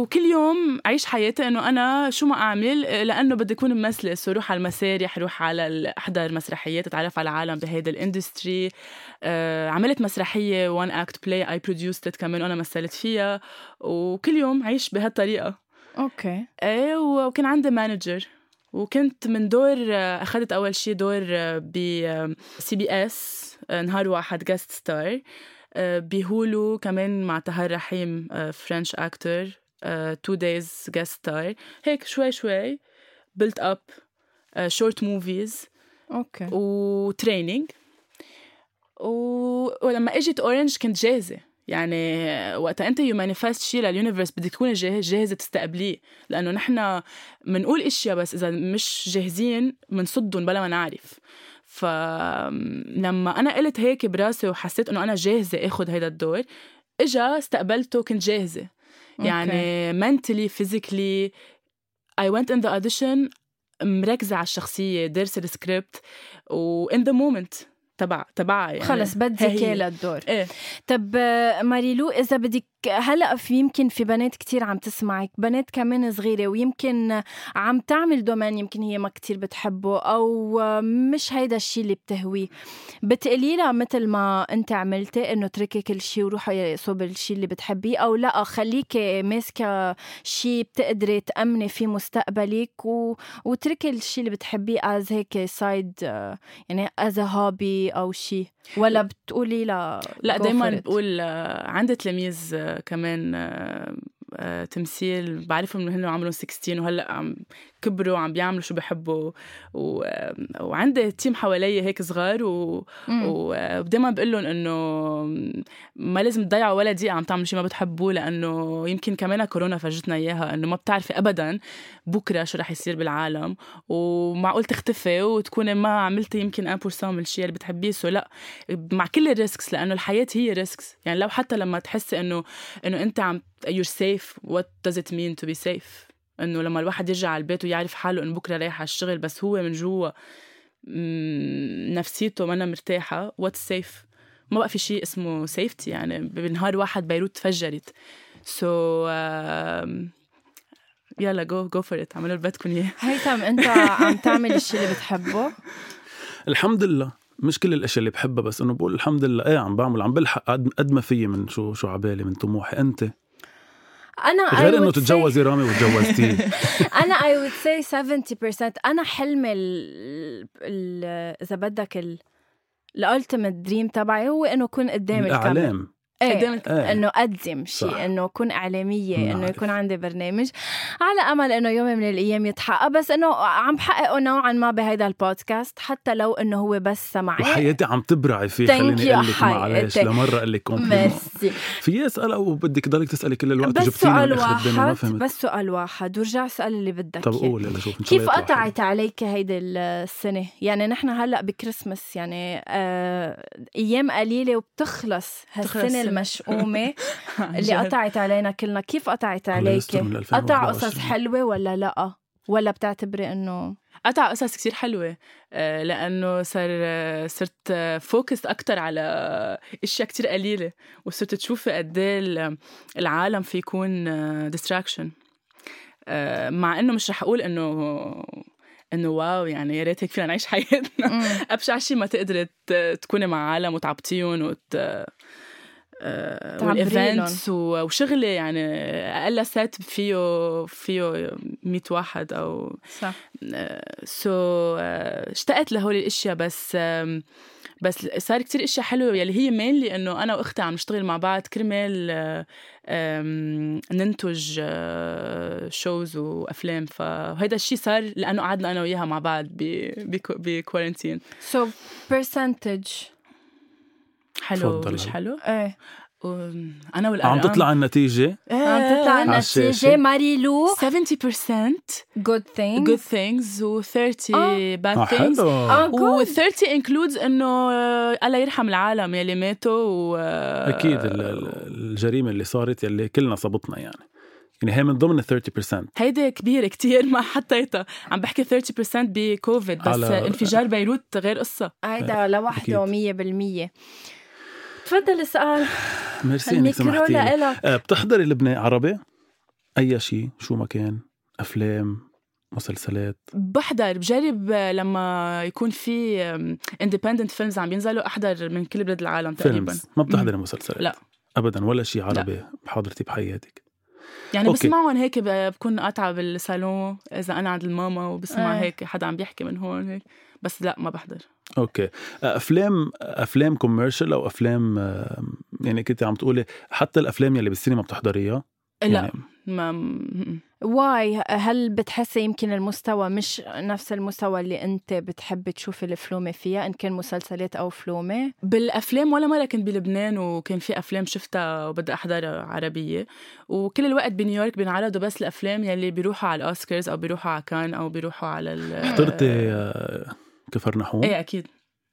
S3: وكل يوم عيش حياتي انه انا شو ما اعمل لانه بدي اكون ممثله سو روح على المسارح روح على ال- احضر مسرحيات اتعرف على العالم بهيدا الاندستري آه، عملت مسرحيه وان اكت بلاي اي بروديوست كمان وانا مثلت فيها وكل يوم عيش بهالطريقه
S1: أوكي
S3: ايه و- وكان عندي مانجر وكنت من دور آه، اخذت اول شيء دور آه، ب سي بي اس آه، نهار واحد جاست ستار بهولو كمان مع طهر رحيم آه، فرنش اكتر تو دايز جاست ستار هيك شوي شوي آه، بيلت اب شورت موفيز
S1: أوكي
S3: وتريننج و... ولما اجت اورنج كنت جاهزه يعني وقتها انت يو مانيفست شيء لليونيفرس بدك تكوني جاهز جاهزه تستقبليه لانه نحن بنقول اشياء بس اذا مش جاهزين بنصدهم بلا ما نعرف فلما انا قلت هيك براسي وحسيت انه انا جاهزه اخذ هيدا الدور اجا استقبلته كنت جاهزه يعني mentally physically I went in the audition مركزة على الشخصية دارسة السكريبت و in the moment تبع تبعها يعني
S1: خلص بدك
S3: هي هي.
S1: اياه للدور
S3: ايه
S1: طب آه، ماريلو اذا بدك هلا في يمكن في بنات كتير عم تسمعك بنات كمان صغيره ويمكن عم تعمل دومين يمكن هي ما كتير بتحبه او آه، مش هيدا الشيء اللي بتهويه بتقلي لها مثل ما انت عملتي انه اتركي كل شيء وروحي صوب الشيء اللي بتحبيه او لا خليكي ماسكه شيء بتقدري تامني فيه مستقبلك و... وتركي الشيء اللي بتحبيه از هيك سايد يعني از هوبي او شيء ولا بتقولي لا
S3: لا
S1: go for
S3: دايما
S1: it.
S3: بقول آه، عندي تلاميذ آه، كمان آه، آه، تمثيل بعرفهم انه هن عمرهم 16 وهلا عم كبروا عم بيعملوا شو بحبوا و... آه، وعندي تيم حوالي هيك صغار و...
S1: مم.
S3: و- ودايما بقول لهم انه ما لازم تضيعوا ولا دقيقه عم تعملوا شيء ما بتحبوه لانه يمكن كمان كورونا فرجتنا اياها انه ما بتعرفي ابدا بكره شو رح يصير بالعالم ومعقول تختفي وتكوني ما عملتي يمكن 1% من الشيء اللي بتحبيه سو لا مع كل الريسكس لانه الحياه هي ريسكس يعني لو حتى لما تحسي انه انه انت عم you're safe what does it mean to be safe انه لما الواحد يرجع على البيت ويعرف حاله انه بكره رايح على الشغل بس هو من جوا مم، نفسيته مانا مرتاحة واتس سيف ما بقى في شيء اسمه سيفتي يعني بنهار واحد بيروت تفجرت سو يلا جو جو فور ات اعملوا اللي بدكم اياه
S1: هيثم انت عم تعمل الشيء اللي بتحبه
S2: الحمد لله مش كل الاشياء اللي بحبها بس انه بقول الحمد لله ايه عم بعمل عم بلحق قد قد ما فيي من شو شو عبالي من طموحي انت
S1: انا I
S2: غير
S1: would
S2: انه
S1: say-
S2: تتجوزي رامي وتجوزتيه
S1: انا اي وود سي 70% انا حلمي ال- ال- اذا بدك الالتيميت دريم تبعي هو انه اكون قدام الكاميرا
S2: الاعلام
S1: إيه.
S3: قدام الك-
S2: ايه
S1: انه اقدم
S2: صح. نعم.
S1: شيء انه اكون اعلاميه انه
S2: نعرف.
S1: يكون عندي برنامج على امل انه يوم من الايام يتحقق بس انه عم بحققه نوعا ما بهيدا البودكاست حتى لو انه هو بس سمعي
S2: وحياتي عم تبرعي فيه
S1: Thank
S2: خليني
S1: you،
S2: اقول لك
S1: حي.
S2: معلش
S1: Thank-
S2: لمره اقول لك كومبليمون
S1: ميرسي
S2: في اسال او بدك تضلك تسالي كل الوقت
S1: بس
S2: جبتيني
S1: سؤال
S2: من آخر الدنيا، ما
S1: واحد
S2: فهمت
S1: بس سؤال واحد ورجع اسال اللي بدك
S2: طب
S1: إياه.
S2: قول يلا شوف إن شاء
S1: كيف
S2: الله يطلع حلو.
S1: قطعت عليك هيدي السنة؟ يعني نحن هلا بكريسماس يعني آه ايام قليلة وبتخلص
S3: تخلص
S1: هالسنة
S3: السنة.
S1: المشؤومة اللي قطعت علينا كلنا، كيف قطعت
S2: الله
S1: عليك؟
S2: يستر من
S1: قطع
S2: 2021.
S1: قصص حلوة ولا لا؟ ولا بتعتبري انه
S3: قطع قصص كتير حلوة آه، لأنه صار آه، صرت آه، فوكس أكتر على آه، أشياء كتير قليلة وصرت تشوفي قد إيه ال- العالم في يكون ديستراكشن مع إنه مش رح أقول إنه إنه واو يعني يا ريت هيك فينا نعيش حياتنا
S1: مم.
S3: أبشع شيء ما تقدري ت- تكوني مع عالم وتعبطيهم وت آه،
S1: تعبريلن.
S3: والإيفنتس و- وشغلي يعني أقل سات فيه فيه 100 واحد أو
S1: صح
S3: سو آه، اشتقت لهول الاشياء بس آم، بس صار كتير اشياء حلوه يلي هي مينلي انه انا واختي عم نشتغل مع بعض كرمال آه، آم، ننتج آه، شوز وافلام فهيدا الشيء صار لانه قعدنا انا وياها مع بعض بكوارنتين
S1: سو برسنتج
S3: حلو
S2: تفضل
S3: مش
S2: هلا.
S3: حلو
S1: ايه
S3: وم- انا والارقام
S2: عم تطلع النتيجه
S3: آه،
S1: عم تطلع
S2: على
S1: النتيجة
S2: الشاشة.
S1: ماري لو
S3: 70%
S1: جود ثينج
S3: good things
S1: آه.
S3: و30
S2: اه
S3: bad things
S2: حلو
S3: و30 انكلودز انه آه، الله يرحم العالم يلي ماتوا و آه،
S2: اكيد ال- ال- الجريمه اللي صارت اللي كلنا صبتنا يعني يعني هي من ضمن ال 30%
S3: هيدي كبيرة كتير ما حطيتها عم بحكي 30% بكوفيد بس
S2: على-
S3: على... انفجار بيروت غير قصة
S1: هيدا لوحده 100% تفضل اسأل
S2: ميرسي انك
S1: الميكرو
S2: سمحتي لي.
S1: لإلك
S2: آه، بتحضري لبنان عربي اي شيء شو ما كان افلام مسلسلات
S3: بحضر بجرب آه، لما يكون في اندبندنت فيلمز عم ينزلوا احضر من كل بلاد العالم تقريبا
S2: فيلمز ما بتحضري مسلسلات
S3: لا.
S2: ابدا ولا شيء عربي بحضرتي بحياتك
S3: يعني
S2: أوكي.
S3: بسمعهم هيك ب- بكون قاطعة بالصالون اذا انا عند الماما وبسمع
S1: آه.
S3: هيك حدا عم بيحكي من هون هيك بس لا ما بحضر
S2: اوكي آه، افلام افلام كوميرشال او افلام آه، يعني كنت عم تقولي حتى الافلام يلي بالسينما بتحضريها
S3: لا
S2: يعني
S3: ما م-
S1: واي هل بتحسي يمكن المستوى مش نفس المستوى اللي انت بتحبي تشوفي الفلومه فيها ان كان مسلسلات او فلومه
S3: بالافلام ولا مره كنت بلبنان وكان في افلام شفتها وبدي احضرها عربيه وكل الوقت بنيويورك بينعرضوا بس الافلام يلي بيروحوا على الاوسكارز او بيروحوا على كان او بيروحوا على ال
S2: حضرتي آه، كفرنحوم
S3: ايه اكيد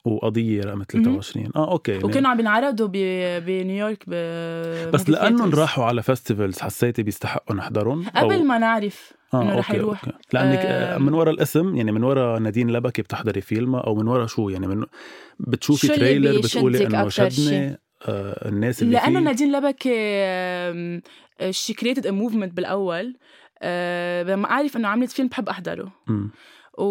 S2: وقضيه رقم
S3: مهم.
S2: 23 اه اوكي يعني
S3: وكانوا عم بينعرضوا ب- بنيويورك ب-
S2: بس
S3: movie
S2: لانهم
S3: theaters.
S2: راحوا على فيستيفالز حسيتي بيستحقوا نحضرهم
S3: قبل ما نعرف إنه رح
S2: آه، أوكي،
S3: يروح.
S2: أوكي. لانك آه،
S3: آم.
S2: من ورا الاسم يعني من ورا نادين لبكي بتحضري فيلم او من ورا شو يعني من بتشوفي
S1: شو اللي
S2: تريلر بتقولي
S1: بيشدك
S2: انه
S1: أكتر
S2: شدني آه الناس اللي
S3: لانه
S2: فيه
S3: نادين لبكي شي كريتد ا موفمنت بالاول آه، لما اعرف انه عملت فيلم بحب احضره
S2: مم.
S3: و...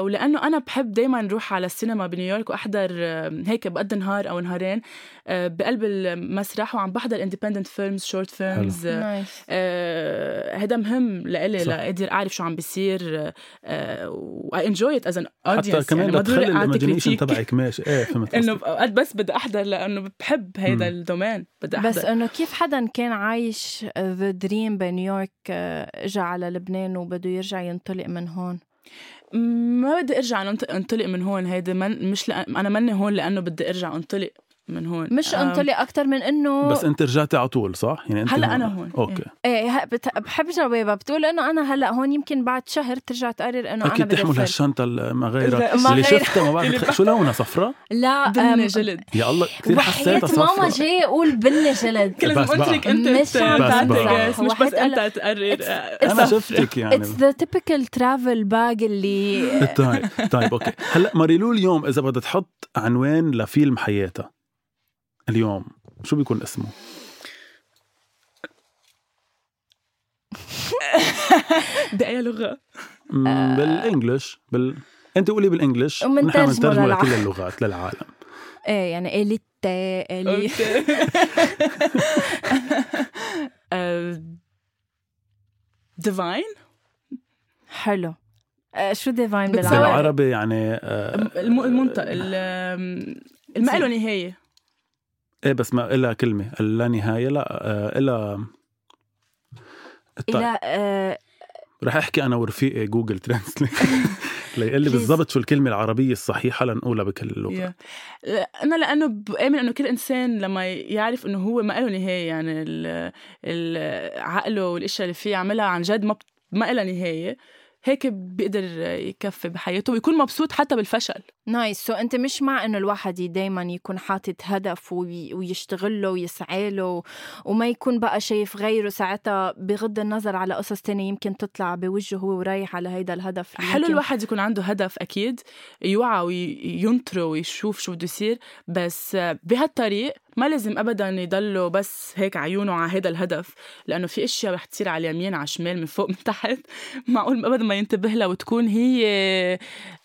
S3: ولانه انا بحب دائما روح على السينما بنيويورك واحضر آه، هيك بقد نهار او نهارين آه، بقلب المسرح وعم بحضر اندبندنت فيلمز شورت فيلمز
S1: نايس
S3: آه، هيدا مهم لإلي
S2: صح.
S3: لأقدر أعرف شو عم بيصير آه، واي انجوي ات از ان اودينس
S1: يعني
S2: حتى كمان لتخلي الايماجينيشن تبعك ماشي ايه فهمت
S3: انه
S2: قصدك.
S3: اوقات بس بدي احضر لانه بحب هيدا
S2: مم.
S3: الدومين بدي احضر
S1: بس انه كيف حدا كان عايش ذا دريم بنيويورك آه، اجى على لبنان وبده يرجع ينطلق من هون
S3: ما بدي ارجع أنط- انطلق من هون هيدا من مش لأن انا ماني هون لانه بدي ارجع انطلق من هون
S1: مش
S3: آم،
S1: انطلق اكثر من انه
S2: بس انت رجعتي على طول صح؟ يعني انت
S3: هلا انا هون
S2: اوكي
S1: ايه ه- بت- بحب جوابها بتقول انه انا هلا هون يمكن بعد شهر ترجع تقرر انه انا
S2: اكيد
S1: بدي
S2: تحمل
S1: أسافر.
S2: هالشنطه المغيره
S1: إذا-
S2: اللي
S1: مغيرة.
S2: شفتها ما
S3: اللي
S2: بعرف شو لونها صفراء؟
S1: لا
S3: بني
S1: أم-
S3: جلد
S2: يا الله كثير
S1: وحياة
S2: حسيتها
S1: ماما
S2: صفراء
S1: جاي يقول بني جلد
S3: كل
S2: بس
S3: قلت لك
S1: بقى.
S3: انت
S1: مش عم
S2: بقى.
S3: بتعمل مش
S1: واحد
S3: بس
S1: قال-
S3: انت تقرر آه،
S2: انا
S3: صفر.
S2: شفتك يعني
S1: اتس ذا تيبكال ترافل باج اللي
S2: طيب طيب اوكي هلا ماريلو اليوم اذا بدها تحط عنوان لفيلم حياتها اليوم شو بيكون اسمه؟
S3: بأي لغة
S2: مم، بالانجلش بال انت قولي بالانجلش
S1: ومنترجمه
S2: نحن بنترجمه
S1: للعالم.
S2: لكل اللغات للعالم
S1: ايه يعني اليت الي
S3: ديفاين
S1: حلو آه، شو ديفاين
S3: بتصور-
S1: بالعربي
S2: بالعربي يعني آه
S3: المنطق ال- آم، الما له نهاية
S2: ايه بس ما إلها كلمه لا نهايه لا آه إلها طيب
S1: الى آه،
S2: رح احكي انا ورفيقي جوجل ترانسليت ليقول لي
S1: Please.
S2: بالضبط شو الكلمه العربيه الصحيحه لنقولها بكل اللغات
S3: أنا لأنه بآمن إنه كل إنسان لما يعرف إنه هو ما له نهاية يعني ال- ال- عقله والأشياء اللي فيه يعملها عن جد ما بت- ما لها نهاية هيك بيقدر يكفي بحياته ويكون مبسوط حتى بالفشل
S1: نايس سو انت مش مع انه الواحد دائما يكون حاطط هدف وي- ويشتغل له ويسعى له و- وما يكون بقى شايف غيره ساعتها بغض النظر على قصص تانية يمكن تطلع بوجهه هو ورايح على هيدا الهدف اللي
S3: حلو
S1: يمكن-
S3: الواحد يكون عنده هدف اكيد يوعى وينطره ويشوف شو بده يصير بس بهالطريق ما لازم ابدا يضله بس هيك عيونه على هذا الهدف لانه في اشياء رح تصير على اليمين على الشمال من فوق من تحت معقول ابدا ما ينتبه لها وتكون هي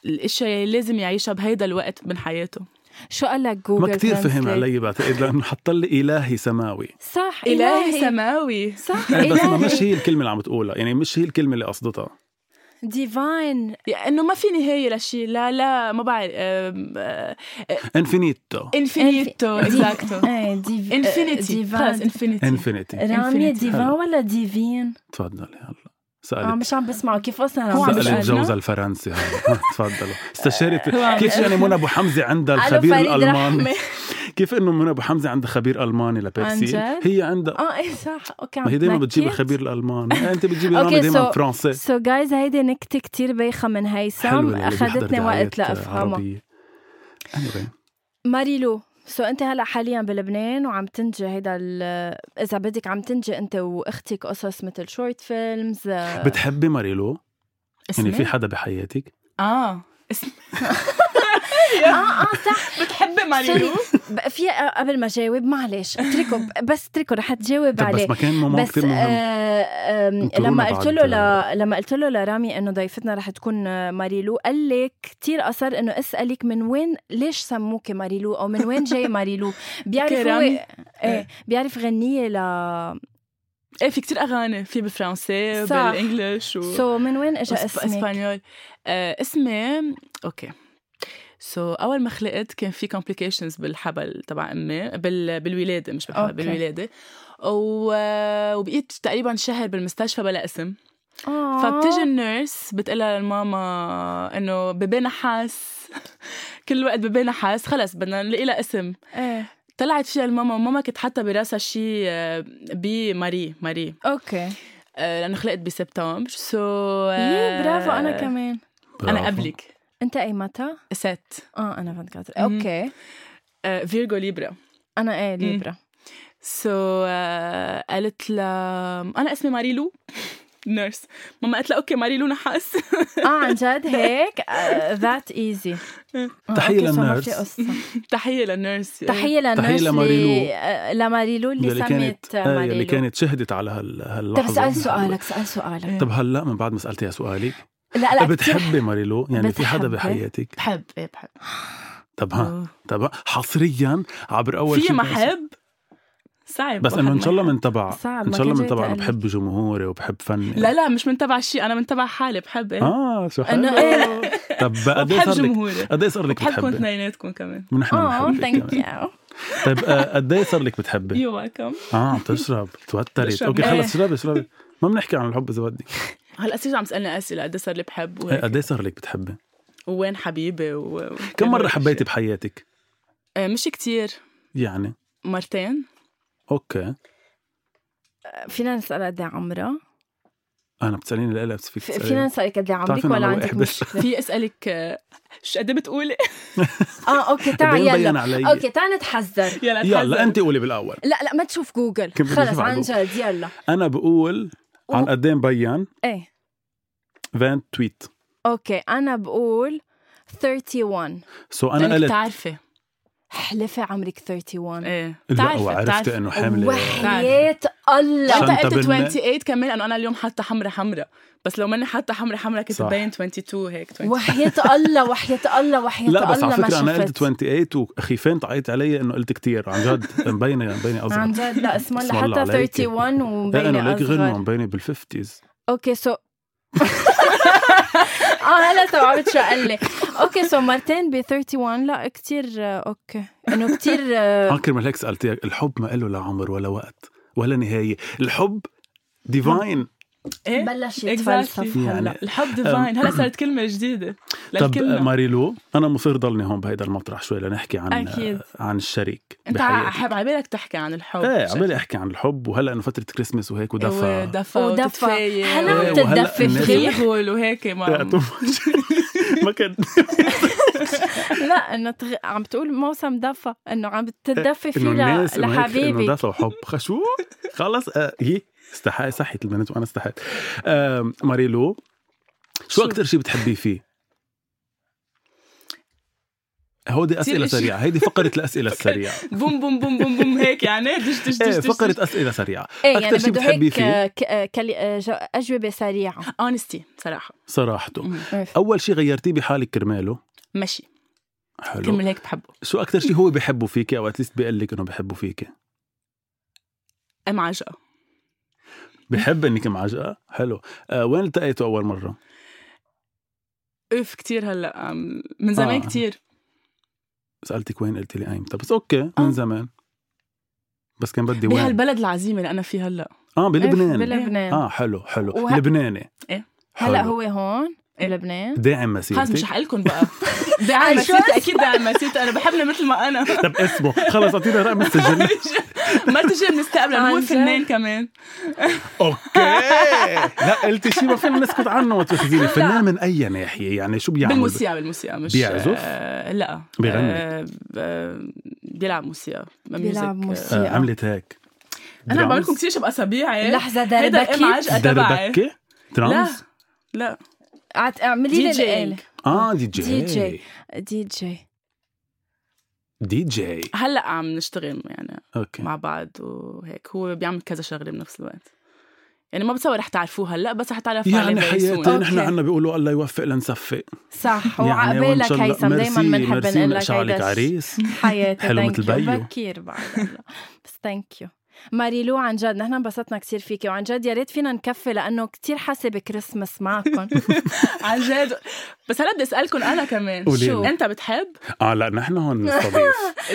S3: الاشياء اللي لازم يعيشها بهيدا الوقت من حياته
S1: شو قال لك جوجل
S2: ما كتير فهم
S1: ترانسليت؟
S2: علي بعتقد لانه حط لي الهي سماوي
S1: صح
S3: الهي
S1: الهي
S3: سماوي
S1: صح
S2: إيه بس ما مش
S1: الهي
S2: هي الكلمه اللي عم تقولها يعني مش هي الكلمه اللي قصدتها
S1: ديفاين
S3: لانه ما في نهايه لشيء لا لا ما بعرف آم، آه،
S2: انفينيتو
S3: انفينيتو اكزاكتو
S1: ايه ديف...
S3: انفينيتي خلص
S1: ديفاين
S3: انفينيتي
S2: انفينيتي
S1: رامية
S3: Infinity.
S1: ديفان
S2: حلو.
S1: ولا ديفين؟
S2: تفضلي هلا
S1: اه
S2: سالت
S1: مش عم بسمعه كيف اصلا
S3: هو عم
S1: عم
S3: بيسألنا؟
S2: سالت
S1: بسأله؟
S2: جوزها الفرنسي هلا ها، تفضلوا استشارت
S3: هو عم
S2: كيف يعني منى ابو حمزه عندها
S1: ألو
S2: الخبير
S1: فريد
S2: الالماني
S1: رحمة.
S2: كيف انه منى ابو حمزه عندها خبير الماني لبيبسي
S1: عن
S2: هي عندها
S1: اه ايه صح اوكي
S2: ما هي دائما بتجيب الخبير يعني الالماني انت بتجيبي رامي
S1: أوكي،
S2: دائما
S1: so-
S2: فرنسي
S1: سو جايز هيدي نكته كتير بايخه من
S2: حلوة
S1: هيثم
S2: للي بيحضر
S1: اخذتني
S2: دعايات
S1: وقت لافهمها
S2: عربية. Anyway.
S1: ماريلو سو انت هلا حاليا بلبنان وعم تنجي هيدا ال- اذا بدك عم تنجي انت واختك قصص مثل شورت فيلمز
S2: بتحبي ماريلو؟ يعني في
S3: اسمي؟
S2: حدا بحياتك؟
S3: اه
S1: اه اه صح
S3: بتحبي
S1: سوري ب- في آه، قبل ما جاوب معلش اتركه ب- بس اتركه رح تجاوب
S2: طب
S1: عليه
S2: بس مكان ماما
S1: بس
S2: كثير
S1: آه
S2: مهم
S1: آم،
S2: انطرونا
S1: لما
S2: بعد- آه،
S1: قلت له ل... لما قلت له لرامي انه ضيفتنا رح تكون آه، ماريلو قال لي كثير اثر انه اسالك من وين ليش سموكي ماريلو او من وين جاي ماريلو
S3: أوكي،
S1: بيعرف هو
S3: رامي. إيه.
S1: ايه بيعرف غنيه ل
S3: ايه في كتير اغاني في بالفرنسي
S1: صح.
S3: بالانجلش و
S1: سو من وين اجى
S3: وإسب-
S1: اسمك؟
S3: اسبانيول آه اسمي اوكي سو so, اول ما خلقت كان في complications بالحبل تبع امي بال... بالولاده مش بالحبل
S1: أوكي.
S3: بالولاده و... وبقيت تقريبا شهر بالمستشفى بلا اسم
S1: آه.
S3: فبتجي النيرس بتقلها لماما انه بيبي نحاس كل وقت بيبي نحاس خلص بدنا نلاقي لها اسم
S1: ايه
S3: طلعت فيها الماما وماما كانت حاطه براسها شيء آه، بماري ماري
S1: اوكي
S3: آه، لانه خلقت بسبتمبر سو
S1: يي إيه، برافو
S3: آه.
S1: انا كمان
S3: انا
S2: برافو.
S3: قبلك
S1: انت اي متى؟
S3: ست
S1: اه انا فانت كاتر
S3: مم.
S1: اوكي
S3: فيرجو ليبرا
S1: انا ايه ليبرا
S3: سو آه، قالت لها انا اسمي ماريلو نيرس ماما قالت لها اوكي ماريلو نحاس
S1: اه عن جد هيك آه، ذات ايزي آه،
S2: تحية للنيرس. يعني
S3: تحيه للنيرس
S1: تحية للناس
S2: تحية
S1: اللي
S2: لماريلو.
S1: آه، لماريلو اللي
S2: يلي
S1: سمت
S2: كانت
S1: آه،
S2: آه، يلي
S1: ماريلو
S2: كانت شهدت على هال
S1: طب
S2: هاللحظه
S1: اسأل سؤالك اسأل سؤالك
S2: طب هلا من بعد ما سألتيها سؤالك
S1: لا لا كتير
S2: بتحبي ماريلو يعني في حدا
S1: بتحبي.
S2: بحياتك
S3: بحب ايه بحب
S2: طب ها طب ها، حصريا عبر اول
S3: في
S2: شيء
S3: ما حب صعب
S2: بس انه ان شاء الله
S3: واحد ما
S2: من تبع
S1: صعب،
S2: ان
S1: ما
S2: شاء الله
S1: كان جاي
S2: من تبع انا
S1: تقلد.
S2: بحب جمهوري وبحب فني
S3: حب. لا لا مش من تبع شيء انا من تبع حالي بحب ايه
S2: اه شو حلو
S3: انه
S1: إيه.
S3: ايه
S2: طب قد ايه
S3: بحب
S2: صار لك
S3: جمهوري
S2: قد ايه صار لك
S3: بحبكم
S2: بتحبي؟
S3: اثنيناتكم كمان
S2: ونحن
S1: اه
S2: بنحبك
S1: ثانك
S2: كمان.
S1: يو
S2: طيب آه، قد ايه صار لك بتحبي؟
S3: يو ويلكم
S2: اه تشرب توترت
S3: بشرب.
S2: اوكي
S3: إيه.
S2: خلص اشربي اشربي ما بنحكي عن الحب اذا بدك
S3: هلا صرت عم تسالني اسئله قد إيه صار لي بحب
S2: إيه،
S1: طيب.
S3: وهيك
S2: قد ايه صار لك بتحبي؟
S3: وين حبيبي و... و-
S2: كم مره
S3: وكل
S2: حبيتي
S3: شيء.
S2: بحياتك؟
S3: آه، مش كتير
S2: يعني
S3: مرتين
S2: اوكي
S1: فينا نسال قد ايه عمرها؟
S2: انا بتساليني لألبس فيك
S1: في- فينا
S2: تسأليني
S1: نسالك قد ايه عمرك
S2: بتعرفي أنا
S1: ولا
S2: وقح
S1: عندك
S2: بس.
S1: مشكله؟
S3: في اسالك آه، شو قد إيه بتقولي
S1: اه اوكي تعال
S2: قد ايه مبين
S1: يلا
S2: علي؟
S1: اوكي تعال نتحذر
S3: يلا
S2: يلا
S3: تحذر.
S2: انت قولي بالاول
S1: لا لا ما تشوف جوجل
S2: كيف بدي
S1: خلص
S2: أشوف على
S1: عن
S2: جوجل؟
S1: جد يلا
S2: انا بقول عن
S1: و-
S2: قد ايه مبين
S1: ايه
S2: 20 تويت
S1: اوكي انا بقول 31
S2: سو انا
S3: لانك
S2: قلت
S3: بتعرفي
S1: حلفي عمرك 31
S3: ايه
S2: لا
S3: بتعرفي
S2: وعرفت
S3: بتعرفي
S2: انه حامله
S1: وحياة الله
S2: شن-
S3: وانت قلت
S2: شنطة بالم-
S3: 28 كمان انه انا اليوم حاطه حمرة حمرة بس لو ماني حاطه حمرة حمرة كنت
S2: صح.
S3: باين 22 هيك 20.
S1: وحياة الله وحياة الله وحياة الله
S2: لا بس على
S1: ما
S2: فكره انا قلت
S1: شفت.
S2: 28 واخي فين تعيط علي انه قلت كتير عن جد مبينه مبينه
S1: عن
S2: اصغر
S1: جد لا اسم الله
S2: اسم الله
S1: حتى
S2: عليك.
S1: 31
S2: لا انه
S1: ومبينة
S2: ليك غنوه
S1: اصغر
S2: مبينه بالفيفتيز
S1: اوكي سو اه هلا استوعبت شو قال لي اوكي سو مرتين ب 31 لا كثير اوكي انه كثير
S2: فاكر ما هيك سالتك الحب ما له لا عمر ولا وقت ولا نهايه الحب
S1: نعم.
S2: ديفاين
S3: ايه
S1: بلش
S3: Exactly.
S1: يتفلسف هلا
S2: يعني.
S3: الحب ديفاين هلا صارت كلمه جديده
S2: طب آه،
S3: للكلمه
S2: ماريلو انا مصر ضلني هون بهيدا المطرح شوي لنحكي عن
S3: أكيد.
S2: عن الشريك
S3: انت
S2: بحياتي.
S3: حب عبالك تحكي عن الحب إيه،
S2: ايه عمالي احكي عن الحب وهلا انه فتره كريسماس وهيك ودفى
S3: ودفى
S1: ودفى
S3: وتتفايل
S1: هلا
S2: إيه،
S1: عم
S2: وهلأ
S1: تتدفى
S2: الناس-
S1: فيه
S3: تغيغل وهيك
S2: لا،
S3: ما
S2: too much. ما كان
S1: لا انه تغ... عم تقول موسم دفى انه عم تتدفى فيه
S2: انه
S1: ل-
S2: إيه، الناس إنه هيك
S1: لحبيبي
S2: انه دفى وحب خشو خلص آه، هي استحق صحت البنت وانا استحيت آم، ماريلو شو
S3: شو؟
S2: اكثر شيء بتحبيه فيه؟ هودي اسئله
S3: إشي.
S2: سريعه هيدي فقره الاسئله السريعه
S3: بوم بوم بوم بوم بوم هيك يعني دش دش دش
S2: ايه
S3: دش
S2: فقره اسئله سريعه
S1: ايه
S2: أكتر
S1: يعني
S2: شي
S1: بده
S2: بتحبيه
S1: هيك
S2: فيه؟ إيه،
S1: آه، ك- آه، كلي- آه، جو- اجوبه سريعه
S3: اونستي صراحه
S2: صراحته
S3: مم.
S2: اول شيء غيرتيه بحالك كرماله
S3: ماشي
S2: حلو
S3: كمل هيك بحبه
S2: شو اكثر شيء هو بحبه فيكي او اتليست بيقول لك انه بحبه فيكي
S3: ام عجقه
S2: بحب انك معجقه حلو آه وين التقيتوا اول مره
S3: اوف كتير هلا أم، من زمان
S2: آه.
S3: كتير
S2: سالتك وين قلت لي ايمتى بس اوكي من
S3: آه.
S2: زمان بس كان بدي وين
S3: بهالبلد العظيمه اللي انا فيها هلا
S2: اه بلبنان
S1: بلبنان
S2: اه حلو حلو
S1: وه-
S2: لبناني
S3: إيه.
S1: هلا
S2: حلو.
S1: هو هون
S3: إيه.
S1: بلبنان
S2: داعم
S3: خلص مش
S2: مسيرتك
S3: حقلكم بقى داعم
S1: عن
S3: مسيرتي
S1: جد؟
S3: اكيد داعم مسيرتي انا بحبني مثل ما انا
S2: طب اسمه خلص اعطينا رقم السجل
S3: ما تجي بنستقبل
S1: عن
S3: هو
S1: جد.
S3: فنان كمان
S2: اوكي لا قلت شيء ما فينا نسكت عنه وتخزيني فنان من اي ناحيه يعني شو بيعمل
S3: بالموسيقى بالموسيقى مش
S2: بيعزف؟
S3: آه لا
S2: بيغني؟
S3: آه آه، بيلعب موسيقى
S1: بيلعب
S3: music.
S1: موسيقى.
S2: آه عملت هيك
S3: انا
S2: درامز؟
S3: بعمل لكم كثير شيء باصابيعي
S1: لحظه
S3: إيه. هيدا ام
S1: دربكي
S3: عجقه تبعي
S2: دربكة ترانس
S3: لا
S1: عت- اعملي لي
S3: دي جي
S1: الآلة.
S2: اه دي جي
S1: دي جي. دي جي
S2: دي جي
S3: هلا عم نشتغل يعني
S2: اوكي
S3: مع بعض وهيك هو بيعمل كذا شغله بنفس الوقت يعني ما بتصور رح تعرفوه هلا بس رح تعرفوا عليه
S2: يعني
S3: very soon.
S2: حياتي نحن
S1: أوكي.
S2: عنا بيقولوا الله يوفق لنصفق
S1: صح
S2: يعني وإن
S1: وعقبالك
S2: شاء الله-
S1: هيثم دايما
S2: ميرسي-
S1: بنحب
S2: ميرسي
S1: نقول
S2: من
S1: لك
S2: شعلك
S1: هيدا الشيء.
S2: عريس
S1: حياتي
S2: حلو
S1: thank
S2: مثل
S1: you.
S2: بيو.
S1: بكير بعد هلا. بس ثانك يو ماريلو عن جد نحن انبسطنا كثير فيكي وعن جد يا ريت فينا نكفي لانه كثير حاسه بكريسماس معكم آه،
S3: عن جد بس هلا بدي اسالكم انا كمان
S2: قولي
S3: شو
S2: لي.
S3: انت بتحب؟
S2: اه لا نحن هون نستضيف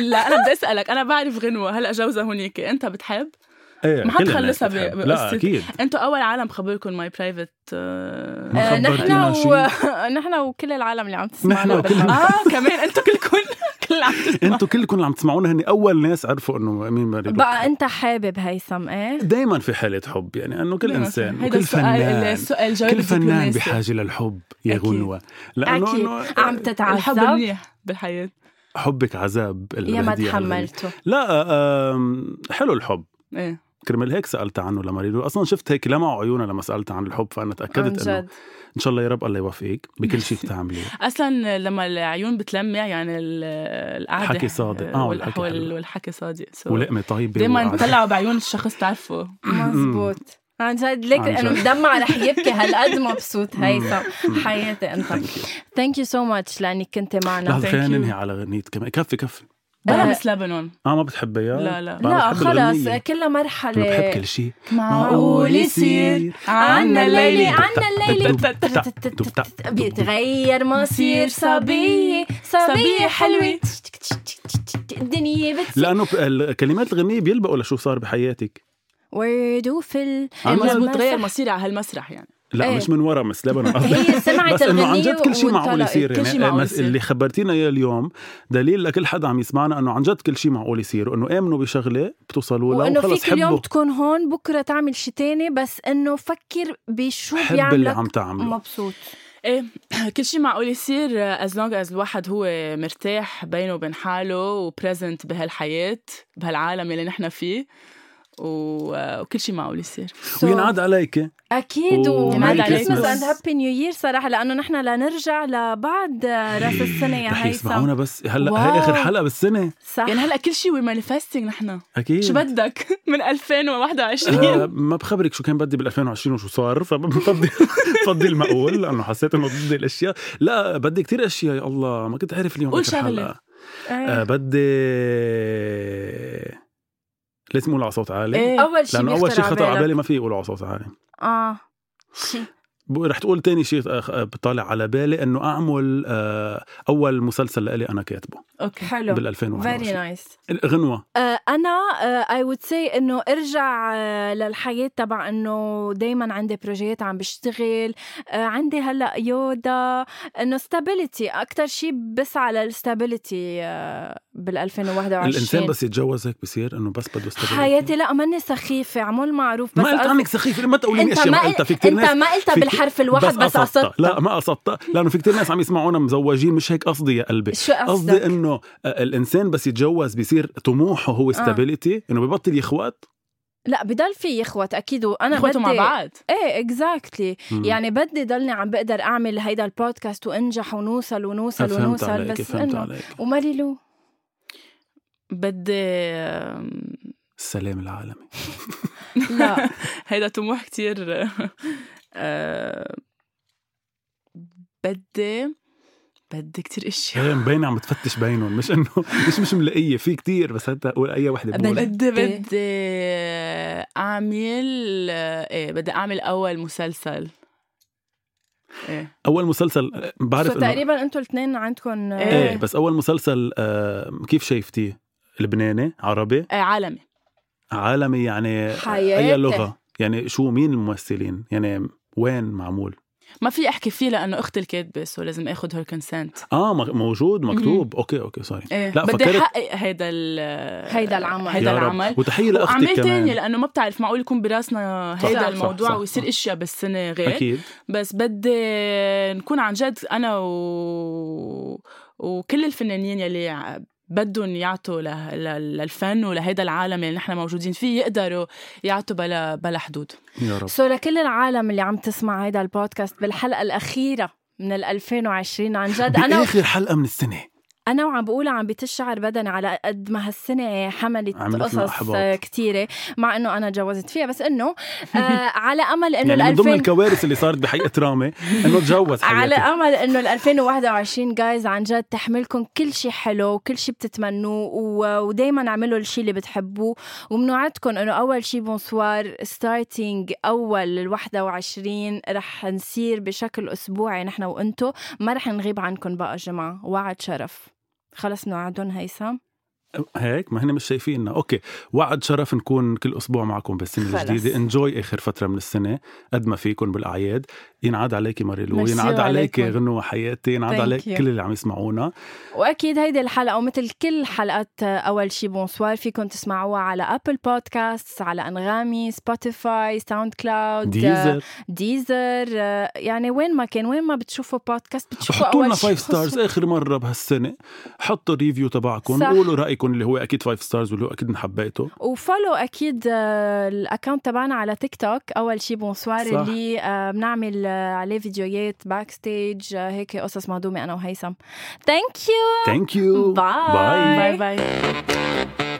S3: لا انا بدي اسالك انا بعرف غنوه هلا جوزها هونيك انت بتحب؟
S2: ايه
S3: ما
S2: كل الناس
S3: حتخلصها ب-
S2: بتحب. لا
S3: بقصة-
S2: اكيد
S3: انتوا اول عالم خبركم ماي برايفت
S2: ما
S1: آه، نحن
S2: خبرتينا
S1: و... نحن وكل العالم اللي عم تسمعنا
S2: نحن وكل-
S1: بالحلقة.
S3: اه كمان انتوا كلكم كل عم تسمعوا.
S2: انتوا كلكم اللي عم تسمعونا هن اول ناس عرفوا انه مين ماريلو
S1: بقى انت حابب هيثم ايه
S2: دائما في حاله حب يعني انه كل انسان
S3: هيدا
S2: وكل
S3: السؤال
S2: فنان
S3: السؤال جواب
S2: كل فنان بحاجه للحب يا
S3: أكيد.
S2: غنوه لانه
S1: اكيد
S2: إنه
S1: عم
S3: الحب
S1: تتعذب
S3: منيح بالحياه
S2: حبك عذاب
S1: يا ما
S2: الهدية على الغنية.
S1: تحملته
S2: لا آه، آم، حلو الحب
S3: ايه
S2: كرمال هيك سالت عنه لماريلو اصلا شفت هيك لمع عيونها لما سالت عن الحب فانا
S1: عن
S2: تاكدت انه
S1: جد
S2: ان شاء الله يا رب الله يوفقك بكل شيء بتعمليه
S3: اصلا لما العيون بتلمع يعني ال- القعده
S2: الحكي صادق. آه،
S3: والأح-
S2: والحكي
S3: وال-
S2: حلو.
S3: والحكي صادق
S1: طيب.
S2: ولقمه طيبه
S3: دائما
S2: وقعدة.
S3: تطلعوا بعيون الشخص تعرفه
S1: مزبوط عن جد ليك
S2: عن
S1: انا
S2: جد.
S1: مدمعه رح يبكي هالقد مبسوط هيثم
S2: مم.
S1: حياتي انت ثانك يو سو ماتش لانك كنت معنا
S2: لحظه خلينا
S3: Thank you.
S2: ننهي على غنيت كمان كفي كفي
S3: بلا
S1: آه.
S3: مس لبنان
S2: اه ما بتحبها اياها
S3: لا، لا.
S2: ما
S1: لا
S2: بحب
S1: خلص
S2: الغنية.
S1: كلها
S2: انا
S1: مرحله
S2: بحب كل شيء
S1: معقول يصير عنا الليلة عنا الليلة بيتغير مصير صبية صبية حلوة الدنيا بت
S2: لانه ب- ال- كلمات الغنيه بيلبقوا لشو صار بحياتك
S1: ورد وفل
S2: عن جد.
S3: مزبوط غير مصيري على هالمسرح يعني
S2: لا
S1: إيه.
S2: مش من ورا مس لبنان قصدي
S1: هي سمعت
S2: بس انه عن جد كل شيء معقول
S1: وانطلقت.
S2: يصير
S3: كل
S2: يعني
S3: شي
S2: إيه،
S3: معقول
S2: مس-
S3: يصير.
S2: اللي خبرتينا اياه اليوم دليل لكل حدا عم يسمعنا انه عن جد كل شيء معقول يصير وانه امنوا بشغله بتوصلوا لها
S1: وانه
S2: وخلص
S1: فيك اليوم
S2: حبوا
S1: تكون هون بكره تعمل شيء تاني بس انه فكر بشو
S2: حب اللي
S1: بيعملك
S2: عم تعمله
S1: مبسوط
S3: ايه كل شيء معقول يصير از لونج از الواحد هو مرتاح بينه وبين حاله وبريزنت بهالحياه بهالعالم اللي نحن فيه و- وكل شيء معقول يصير
S1: So-
S2: وينعاد عليك
S1: اكيد
S2: و-
S1: وميري
S3: Merry
S1: كريسماس
S3: Christmas.
S1: اند هابي نيو يير صراحه لانه نحن لنرجع لبعد راس
S2: إيه،
S1: السنه يا
S2: رح
S1: هيثم
S2: يسمعونا بس هلا
S1: واو.
S2: هي اخر حلقه بالسنه
S1: يعني، صح
S3: يعني هلا كل شيء وي مانيفستنج نحن
S2: اكيد
S3: شو بدك من 2021
S2: آه، ما بخبرك شو كان بدي بال 2020 وشو صار فبفضي بفضي المقول لانه حسيت انه ضد الاشياء لا بدي كتير اشياء يا الله ما كنت عارف اليوم
S3: قول
S2: آخر
S3: شغلة.
S2: حلقة. آه
S1: إيه.
S2: بدي لازم اقول على صوت عالي
S3: إيه.
S1: اول شيء
S2: لانه اول شيء خطر على بالي
S1: بالك
S2: ما في اقول على صوت عالي
S1: اه
S2: ب- رح تقول تاني شيء آه، آه، طالع على بالي انه اعمل آه، اول مسلسل لإلي انا كاتبه
S3: اوكي
S1: حلو
S2: بال
S1: فيري
S2: 2021
S1: نايس
S2: غنوه
S1: آه، انا اي وود سي انه ارجع آه، للحياه تبع انه دائما عندي بروجيات عم بشتغل آه، عندي هلا يودا انه ستابيليتي اكثر شيء بسعى آه، للستابيليتي بال 2021
S2: الانسان بس يتجوز هيك بصير انه بس بده stability.
S1: حياتي لا ماني سخيفه عمول معروف بس
S2: ما قلت
S1: قصد-
S2: عنك سخيفه ما تقولي لي
S1: انت
S2: اشياء
S1: ما
S2: ما قلتها في كثير
S1: انت
S2: ناس
S1: ما قلتها
S2: في-
S1: بالحرف الواحد بس قصدت
S2: لا ما قصدتها لانه في كثير ناس عم يسمعونا مزوجين مش هيك قصدي يا قلبي
S1: شو
S2: قصدي
S1: قصدك؟
S2: انه آه، الانسان بس يتجوز بيصير طموحه
S1: آه.
S2: هو ستابيليتي انه ببطل يخوت
S1: لا بضل في يخوت اكيد وانا
S3: اخوته مع
S1: بدي-
S3: بعض
S1: ايه اكزاكتلي
S2: مم.
S1: يعني بدي ضلني عم بقدر اعمل هيدا البودكاست وانجح ونوصل ونوصل
S2: آه، فهمت
S1: ونوصل
S2: عليك
S1: بس
S2: فهمت
S1: انه
S2: عليك
S1: وماري لو
S3: بدي آم،
S2: السلام العالمي
S1: لا
S3: هيدا طموح كتير آه، بدي بدي كتير اشياء
S2: هي مبينه إيه، عم بتفتش بينهم مش انه مش مش ملاقيه في كتير بس حتى اقول اي وحده
S1: بدي-
S2: بقول
S3: بدي
S1: بدي-
S3: بدي اعمل ايه بدي اعمل اول مسلسل ايه
S2: اول مسلسل آه، بعرف
S1: سو
S2: انه
S1: تقريبا انتوا الاثنين عندكم آه،
S2: ايه
S3: إيه.
S2: بس اول مسلسل آه، كيف شايفتيه لبناني عربي
S3: إيه، عالمي
S2: عالمي يعني
S1: حياتي.
S2: اي لغه يعني شو مين الممثلين يعني وين معمول
S3: ما في احكي فيه لانه اختي الكاتبه سو لازم اخذ هير كونسنت
S2: اه م- موجود مكتوب اوكي اوكي سوري
S3: ايه
S2: لا
S3: بدي
S2: فكرت
S3: احقق هيدا ال
S1: هيدا العمل.
S3: هيدا
S2: يا رب.
S3: العمل
S2: وتحيه لاختك
S3: وأعمال تانية
S2: كمان
S3: لأنه ما بتعرف معقول يكون براسنا
S2: صح،
S3: هيدا
S2: صح،
S3: الموضوع
S2: صح،
S3: ويصير
S2: صح.
S3: أشياء بالسنة غير
S2: اكيد
S3: بس بدي نكون عن جد انا و... وكل الفنانين يلي ع- بدهم يعطوا له... ل- للفن ولهيدا العالم اللي نحن موجودين فيه يقدروا يعطوا بلا بلا حدود
S2: يا رب
S1: سو لكل العالم اللي عم تسمع هيدا البودكاست بالحلقه الاخيره من ال 2020 عن جد انا
S2: باخر حلقه من السنه
S1: انا وعم بقولها عم بتشعر بدني على قد ما هالسنه حملت
S2: عملتنا
S1: قصص
S2: أحباط.
S1: آه، كتيره مع انه انا تجوزت فيها بس انه آه على امل انه
S2: يعني
S1: ال
S2: من ضمن
S1: 2000
S2: الكوارث اللي صارت بحقيقه رامي انه تجوز
S1: على
S2: حياتي
S1: امل انه ال 2021 جايز عن جد تحملكم كل شيء حلو وكل شيء بتتمنوه و... ودائما اعملوا الشيء اللي بتحبوه وبنوعدكم انه اول شيء بونسوار ستارتينج اول ال 21 رح نصير بشكل اسبوعي نحن وانتو ما رح نغيب عنكم بقى جماعه وعد شرف خلص نوعدهم هيثم
S2: هيك ما هن مش شايفيننا اوكي وعد شرف نكون كل اسبوع معكم بالسنه
S1: خلص.
S2: الجديده انجوي اخر فتره من السنه قد ما فيكم بالاعياد ينعاد عليكي ماريلو
S3: ميرسي
S2: ينعاد عليك
S3: وعليكم.
S2: غنوة حياتي ينعاد
S3: Thank
S2: عليك
S3: you.
S2: كل اللي عم يسمعونا
S1: واكيد هيدي الحلقه ومثل كل حلقات اول شي بونسوار فيكم تسمعوها على ابل بودكاست على انغامي سبوتيفاي ساوند كلاود
S2: ديزر
S1: ديزر آه، يعني وين ما كان وين ما بتشوفوا بودكاست بتشوفوا
S2: حطوا لنا
S1: اول شي
S2: 5 ستارز اخر مره بهالسنه حطوا ريفيو تبعكم
S1: صح.
S2: قولوا رايكم اللي هو اكيد 5 ستارز واللي هو اكيد حبيته
S1: وفولو اكيد آه، الاكونت تبعنا على تيك توك اول شي بونسوار
S2: صح.
S1: اللي آه، بنعمل آه، عليه فيديوهات باك ستيج آه، هيك قصص مهضومه انا وهيثم ثانك يو
S2: ثانك يو
S1: Bye.
S3: باي باي